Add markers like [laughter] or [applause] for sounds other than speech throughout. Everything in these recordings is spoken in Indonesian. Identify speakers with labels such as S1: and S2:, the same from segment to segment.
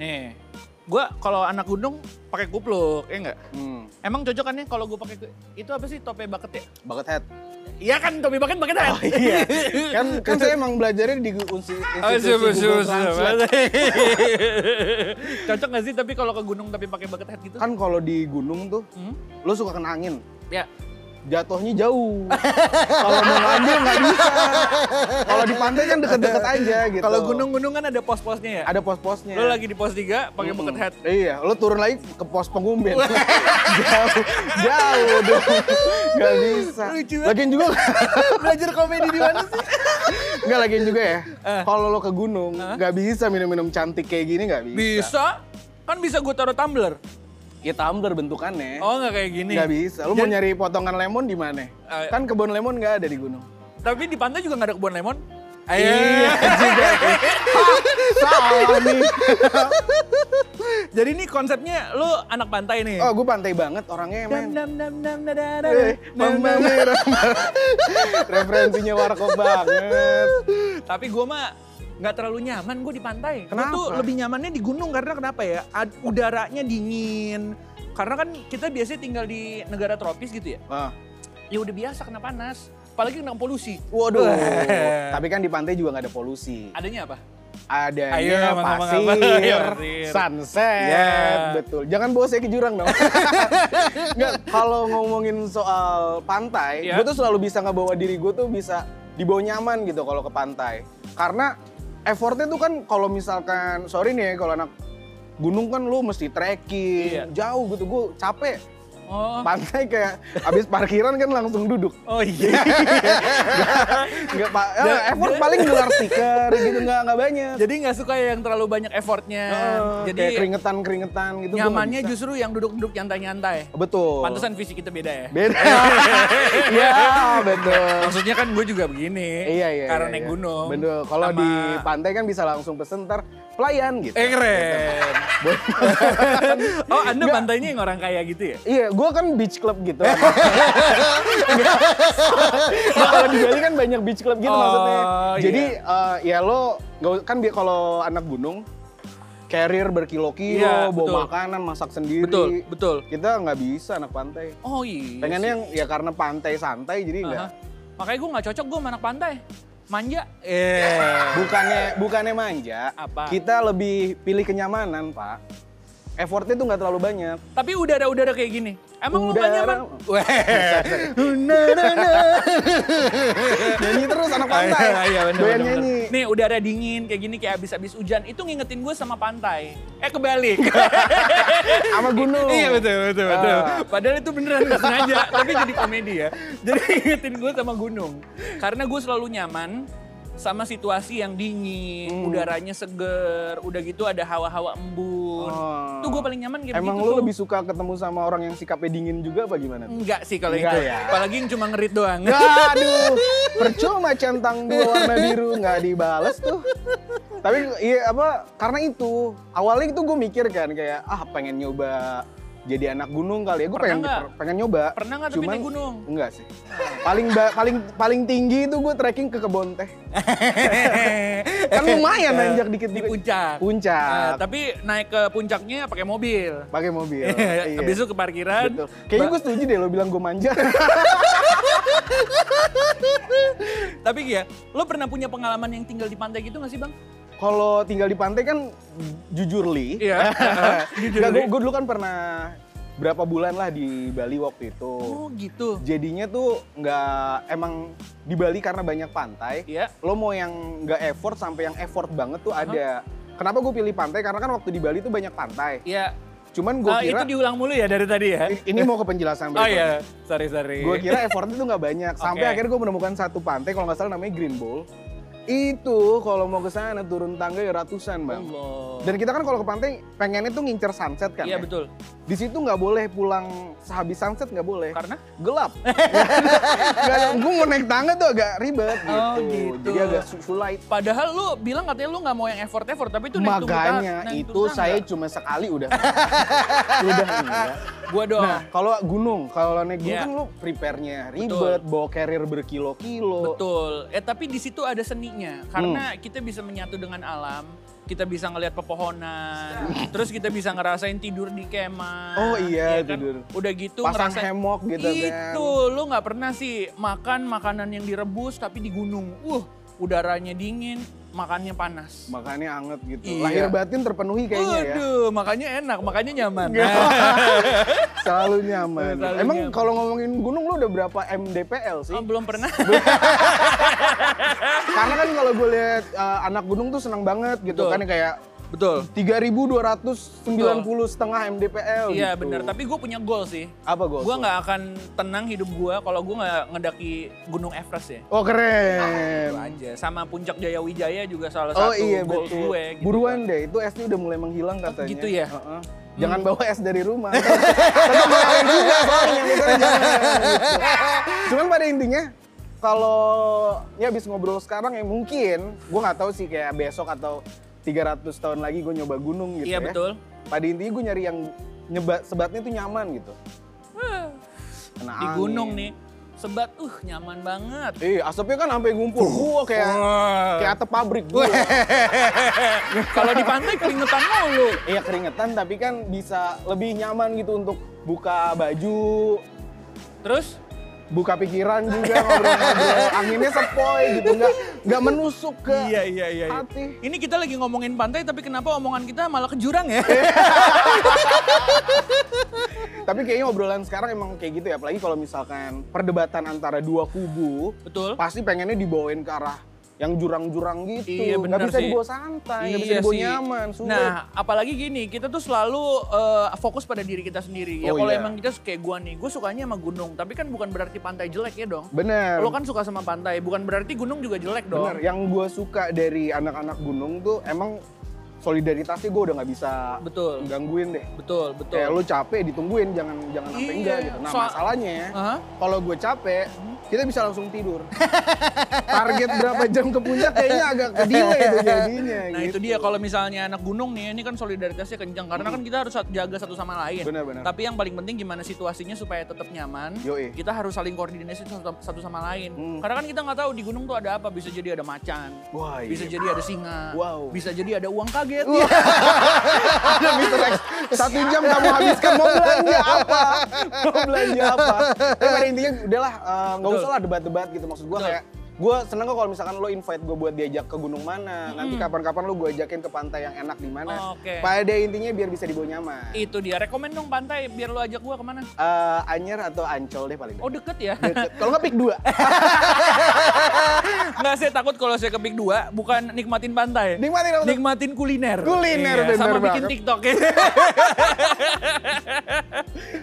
S1: Nih, gue kalau anak gunung pakai kupluk, ya enggak?
S2: Hmm,
S1: Emang cocokannya kalau gue pakai ku- itu apa sih topi bucket ya?
S2: bucket
S1: [laughs]
S2: hat.
S1: Iya kan topi bucket bucket hat.
S2: Oh iya.
S1: [laughs]
S2: kan kan saya emang belajarnya di unsi,
S1: Oh,
S2: institusi
S1: siapa, siapa,
S2: Google
S1: siapa.
S2: Translate.
S1: [laughs] Cocok gak sih tapi kalau ke gunung tapi pakai bucket hat gitu?
S2: Kan kalau di gunung tuh,
S1: Hmm?
S2: lu suka kena angin.
S1: Ya.
S2: Jatuhnya jauh. kalau mau ngambil nggak bisa. Kalau di pantai kan deket-deket aja gitu.
S1: Kalau gunung-gunung kan ada pos-posnya ya?
S2: ada pos-posnya.
S1: Lo lagi di pos 3 pakai bucket
S2: [laughs]
S1: hat.
S2: Mm-mm. Iya, lu turun lagi ke
S1: [laughs]
S2: pos pengumben. jauh, jauh dong. Gak bisa.
S1: Lucu banget.
S2: Lagian juga,
S1: Belajar komedi di mana sih?
S2: gak lagian juga ya.
S1: Eh.
S2: Kalau lo ke gunung, gak bisa minum-minum cantik kayak gini gak bisa.
S1: [laughs] Bisa. Kan bisa gue taruh tumbler. Iya,
S2: Ya tumbler bentukannya.
S1: Oh nggak kayak gini.
S2: Gak bisa. Lu mau
S1: Jadi-
S2: nyari potongan lemon di mana?
S1: Eh.
S2: Kan kebun lemon gak ada di
S1: [laughs]
S2: gunung.
S1: Tapi di pantai juga nggak ada kebun lemon.
S2: Iya [laughs]
S1: Ayo.
S2: juga. ya. Salah nih.
S1: Jadi ini konsepnya lu anak pantai nih.
S2: Oh, gue pantai banget orangnya
S1: Dam
S2: men.
S1: dam dam dam da, da, da,
S2: Eh,
S1: da,
S2: Bang
S1: da.
S2: Mami, [laughs] Referensinya warkop
S1: [laughs]
S2: banget.
S1: Tapi gue mah nggak terlalu nyaman gue di pantai. Gua
S2: Kenapa?
S1: tuh lebih nyamannya di gunung karena kenapa ya? Ad- udaranya dingin. Karena kan kita biasanya tinggal di negara tropis gitu ya.
S2: Ah.
S1: Ya udah biasa kena panas. Apalagi kena polusi.
S2: Waduh.
S1: Wah.
S2: Tapi kan di pantai juga nggak ada polusi.
S1: [laughs] Adanya apa?
S2: Adanya
S1: Ayo, mantap,
S2: pasir,
S1: mantap. [laughs] Ayo, pasir.
S2: sunset,
S1: Ya.
S2: betul. Jangan bawa saya ke jurang
S1: [laughs]
S2: dong. Nggak, kalau ngomongin soal pantai,
S1: Ya.
S2: gue tuh selalu bisa ngebawa diri gue tuh bisa dibawa nyaman gitu kalau ke pantai. Karena effortnya tuh kan kalau misalkan, sorry nih ya, kalau anak gunung kan lu mesti
S1: Iya.
S2: trekking, jauh gitu. Gue capek.
S1: Oh.
S2: Pantai kayak abis parkiran kan langsung duduk.
S1: Oh
S2: [laughs]
S1: iya.
S2: Enggak,
S1: [laughs]
S2: Pak. Eh, effort paling gelar stiker gitu enggak enggak banyak.
S1: Jadi nggak suka ya yang terlalu banyak effortnya.
S2: Heeh, Oh, kayak
S1: Jadi
S2: keringetan-keringetan gitu. gua
S1: nyamannya
S2: nggak bisa. Oh.
S1: justru yang duduk-duduk nyantai-nyantai.
S2: Betul.
S1: Pantesan visi kita beda ya. [laughs]
S2: Beda. [laughs] Iya, betul.
S1: Maksudnya kan gue juga begini.
S2: Iya, iya.
S1: Karena
S2: iya,
S1: naik
S2: iya.
S1: gunung.
S2: Betul. Kalau
S1: sama-
S2: di pantai kan bisa langsung pesen ntar pelayan gitu.
S1: Eh keren. [laughs] oh anda
S2: Nggak.
S1: pantainya yang orang kaya gitu ya?
S2: Iya, gua kan beach club gitu. [laughs] Nggak. Nah, kalau di Bali kan banyak beach club
S1: Oh,
S2: gitu maksudnya. Jadi
S1: iya.
S2: eh, ya lo nggak us- kan bi- kalau anak gunung carrier berkilo-kilo,
S1: Iya,
S2: bawa
S1: betul.
S2: makanan, masak sendiri.
S1: Betul, betul.
S2: Kita nggak bisa anak pantai.
S1: Oh iya
S2: Pengennya
S1: sih.
S2: yang ya karena pantai santai jadi nggak.
S1: Aha. Makanya gue nggak cocok gue sama anak pantai. Manja. Eh.
S2: Bukannya bukannya manja,
S1: Apa?
S2: kita lebih pilih kenyamanan, Pak. Effortnya tuh nggak terlalu banyak.
S1: [laughs] Tapi udara-udara kayak gini. Emang lu gak
S2: Udara-
S1: nyaman? Weh.
S2: nyanyi terus anak pantai.
S1: [laughs] Iya, iya, bener,
S2: Doyan
S1: bener, bener.
S2: nyanyi.
S1: Nih udara dingin kayak gini kayak abis-abis hujan. Itu ngingetin gue sama pantai. Eh kebalik. [laughs]
S2: Sama gunung.
S1: Iya betul betul betul.
S2: Ah.
S1: Padahal itu beneran nggak sengaja, tapi jadi komedi ya. Jadi [laughs] ingetin gue sama gunung, karena gue selalu nyaman sama situasi yang dingin,
S2: Hmm.
S1: udaranya seger, udah gitu ada hawa-hawa embun.
S2: Oh.
S1: Tuh gue paling nyaman kayak
S2: Emang
S1: begitu
S2: lu
S1: tuh.
S2: lebih suka ketemu sama orang yang sikapnya dingin juga apa gimana? tuh?
S1: Enggak sih kalau itu.
S2: Enggak ya.
S1: Apalagi yang cuma ngerit doang. [laughs]
S2: Aduh, percuma centang dua warna biru nggak dibales tuh. Tapi iya apa? Karena itu awalnya itu gue mikir kan kayak ah pengen nyoba jadi anak gunung kali ya. Gue
S1: Pernah
S2: pengen
S1: nggak?
S2: pengen nyoba.
S1: Pernah nggak tapi
S2: Cuman
S1: naik gunung?
S2: Enggak sih. Paling ba- paling paling tinggi itu gue trekking ke kebon teh. Kan lumayan nanjak dikit
S1: Eh, di
S2: juga.
S1: puncak. Eh,
S2: Puncak.
S1: tapi naik ke puncaknya pakai mobil.
S2: pakai
S1: [laughs]
S2: mobil. Iya.
S1: Habis itu kan? ke parkiran.
S2: Betul. Kayaknya gue setuju deh lo bilang gue manja. [laughs]
S1: Tapi ya, lo pernah punya pengalaman yang tinggal di pantai gitu gak sih bang?
S2: Kalau tinggal di pantai kan jujur li.
S1: Iya. [laughs] Jujur, ya.
S2: Nggak, gue
S1: Li.
S2: gue dulu kan pernah berapa bulan lah di Bali waktu itu.
S1: Oh gitu.
S2: Jadinya tuh nggak emang di Bali karena banyak pantai.
S1: Iya.
S2: Lo mau yang nggak effort sampai yang effort banget tuh ada. Kenapa gue pilih pantai? Karena kan waktu di Bali tuh banyak pantai.
S1: Iya.
S2: Cuman gue
S1: Ah,
S2: kira
S1: itu diulang mulu ya dari tadi ya?
S2: ini mau ke penjelasan
S1: Oh
S2: berikutnya.
S1: iya, sorry sorry.
S2: Gue kira effortnya tuh nggak banyak. Sampai
S1: Oke.
S2: akhirnya gue menemukan satu pantai kalau nggak salah namanya Green Bowl. Itu kalau mau ke sana turun tangga ya ratusan bang.
S1: Allah.
S2: Dan kita kan kalau ke pantai pengennya tuh ngincer sunset kan.
S1: Iya
S2: ya?
S1: betul.
S2: Di situ nggak boleh pulang sehabis sunset nggak boleh.
S1: Karena [laughs]
S2: Gelap. Gak ada. Gue mau naik tangga tuh agak ribet gitu.
S1: Oh, gitu.
S2: Jadi agak su- sulit.
S1: padahal lu bilang katanya lu nggak mau yang effort effort tapi itu naik tunggu
S2: Makanya
S1: tang- naik
S2: itu
S1: [laughs] tunggu tangga.
S2: saya cuma sekali udah. udah enggak.
S1: Gua dong.
S2: Nah, kalau gunung, kalau
S1: Oh.
S2: naik gunung
S1: Iya.
S2: kan lu prepare-nya ribet, bawa carrier berkilo-kilo.
S1: Betul. Eh tapi di situ ada seninya
S2: Hmm.
S1: karena kita bisa menyatu dengan alam, kita bisa ngelihat pepohonan, terus kita bisa ngerasain tidur di kemah.
S2: Oh
S1: ya
S2: iya,
S1: kan?
S2: tidur.
S1: Udah gitu
S2: Pasang
S1: ngerasain
S2: hemok gitu kan.
S1: Itu lu nggak pernah sih makan makanan yang direbus tapi di gunung. Uh, udaranya dingin, makannya panas.
S2: Makanya anget
S1: Iya.
S2: gitu. Lahir batin terpenuhi kayaknya ya.
S1: Aduh, makanya enak, makanya nyaman.
S2: Selalu nyaman.
S1: Selalu
S2: Emang
S1: nyaman.
S2: kalau ngomongin gunung lu udah berapa MDPL sih?
S1: Oh, belum
S2: [laughs]
S1: pernah.
S2: Karena kan kalau gue lihat eh, anak gunung tuh senang banget gitu
S1: Betul.
S2: kan kayak
S1: Betul.
S2: 3290 setengah MDPL
S1: Iya
S2: gitu.
S1: benar, tapi gue punya goal sih.
S2: Apa gue?
S1: Gue nggak akan tenang hidup gue kalau gue nggak ngedaki Gunung Everest ya.
S2: Oh
S1: Itu
S2: keren.
S1: aja. Sama Puncak Jaya Wijaya juga salah
S2: Oh
S1: satu
S2: iya
S1: goal
S2: betul.
S1: gue. gitu
S2: Buruan
S1: kan.
S2: deh, itu esnya udah mulai menghilang katanya.
S1: gitu ya?
S2: Heeh. Jangan bawa es dari rumah.
S1: [laughs]
S2: Tetap makan juga soalnya, misalnya jangan, gitu. Cuman pada intinya kalau ya abis ngobrol sekarang ya mungkin gue nggak tahu sih kayak besok atau 300 tahun lagi gue nyoba gunung gitu
S1: Iya
S2: ya.
S1: betul.
S2: Pada intinya gue nyari yang nyeba, sebatnya tuh nyaman gitu. Nah, Kena
S1: Di
S2: angin.
S1: gunung nih, sebat uh nyaman banget.
S2: Ih, asapnya kan sampai ngumpul. Gua kayak kayak atap pabrik. Gua.
S1: kalau di pantai keringetan mulu.
S2: Iya keringetan tapi kan bisa lebih nyaman gitu untuk buka baju,
S1: Terus
S2: buka pikiran
S1: [laughs]
S2: juga ngobrol-ngobrol. Anginnya sepoi gitu nggak nggak menusuk ke
S1: iya iya.
S2: hati.
S1: Ini kita lagi ngomongin pantai tapi kenapa omongan kita malah ke jurang ya?
S2: Iya,
S1: [laughs]
S2: Tapi kayaknya obrolan sekarang emang kayak gitu ya, apalagi kalau misalkan perdebatan antara dua kubu
S1: betul.
S2: pasti pengennya dibawain ke arah yang jurang-jurang gitu.
S1: Iya,
S2: Nggak
S1: benar
S2: bisa
S1: sih. Iya
S2: dibawa santai, nggak bisa dibawa
S1: sih.
S2: nyaman, sulit.
S1: Nah, apalagi gini, kita tuh selalu eh, fokus pada diri kita sendiri. Ya
S2: Oh,
S1: kalau
S2: iya.
S1: emang kita kayak gua nih, gue sukanya sama gunung, tapi kan bukan berarti pantai jelek ya dong.
S2: Bener.
S1: Lo kan suka sama pantai, bukan berarti gunung juga jelek dong.
S2: Bener, yang gue suka dari anak-anak gunung tuh emang solidaritasnya gue udah nggak bisa
S1: Betul.
S2: gangguin deh.
S1: Betul, betul.
S2: Kayak lu capek ditungguin, jangan jangan sampai
S1: Iya,
S2: enggak gitu. Nah
S1: soal-
S2: masalahnya,
S1: Aha. Mhm.
S2: kalau gue capek, kita bisa langsung tidur.
S1: [laughs]
S2: Target berapa jam ke puncak kayaknya agak ke delay tuh jadinya.
S1: [laughs] Nah itu
S2: gitu.
S1: dia kalau misalnya anak gunung nih, ini kan solidaritasnya kencang karena kan kita harus jaga satu sama lain.
S2: Benar, benar.
S1: Tapi yang paling penting gimana situasinya supaya tetap nyaman.
S2: Yoi.
S1: Kita harus saling koordinasi satu, satu sama lain.
S2: Hmm.
S1: Karena kan kita nggak tahu di gunung tuh ada apa. Bisa jadi ada macan,
S2: Wah, iya.
S1: bisa jadi ada singa,
S2: Wow.
S1: bisa jadi ada uang kaget.
S2: [laughs] Ada Mr. X, satu jam kamu habiskan mau belanja apa? Mau belanja apa? Tapi pada intinya udahlah, eh, nggak
S1: Betul.
S2: usah lah debat-debat gitu. Maksud gue
S1: Betul.
S2: kayak, gue seneng kok kalau misalkan lo invite gue buat diajak ke gunung mana. Nanti kapan-kapan lo gue ajakin ke pantai yang enak di mana.
S1: Hmm. Oke.
S2: Pada intinya biar bisa dibawa nyaman.
S1: Itu dia. Rekomen dong pantai biar lo ajak gua kemana?
S2: Eh, Anyer atau Ancol deh paling.
S1: Oh Eh, deket ya.
S2: Deket. Kalau nggak pick dua,
S1: [laughs] Nggak, saya takut kalau saya kepik dua, bukan nikmatin pantai.
S2: Nikmatin apa tuh?
S1: Nikmatin kuliner.
S2: Kuliner,
S1: Iya, Sama
S2: bener
S1: bikin
S2: banget.
S1: TikTok [laughs] ya.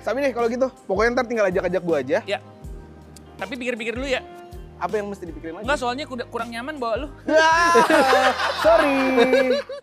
S2: Sami deh kalau gitu. Pokoknya ntar tinggal ajak-ajak gue aja.
S1: ya. Tapi pikir-pikir dulu ya. Nah.
S2: Apa yang mesti dipikirin lagi?
S1: Enggak, soalnya kuda- kurang nyaman bawa lu.
S2: Ah, [laughs] Sorry.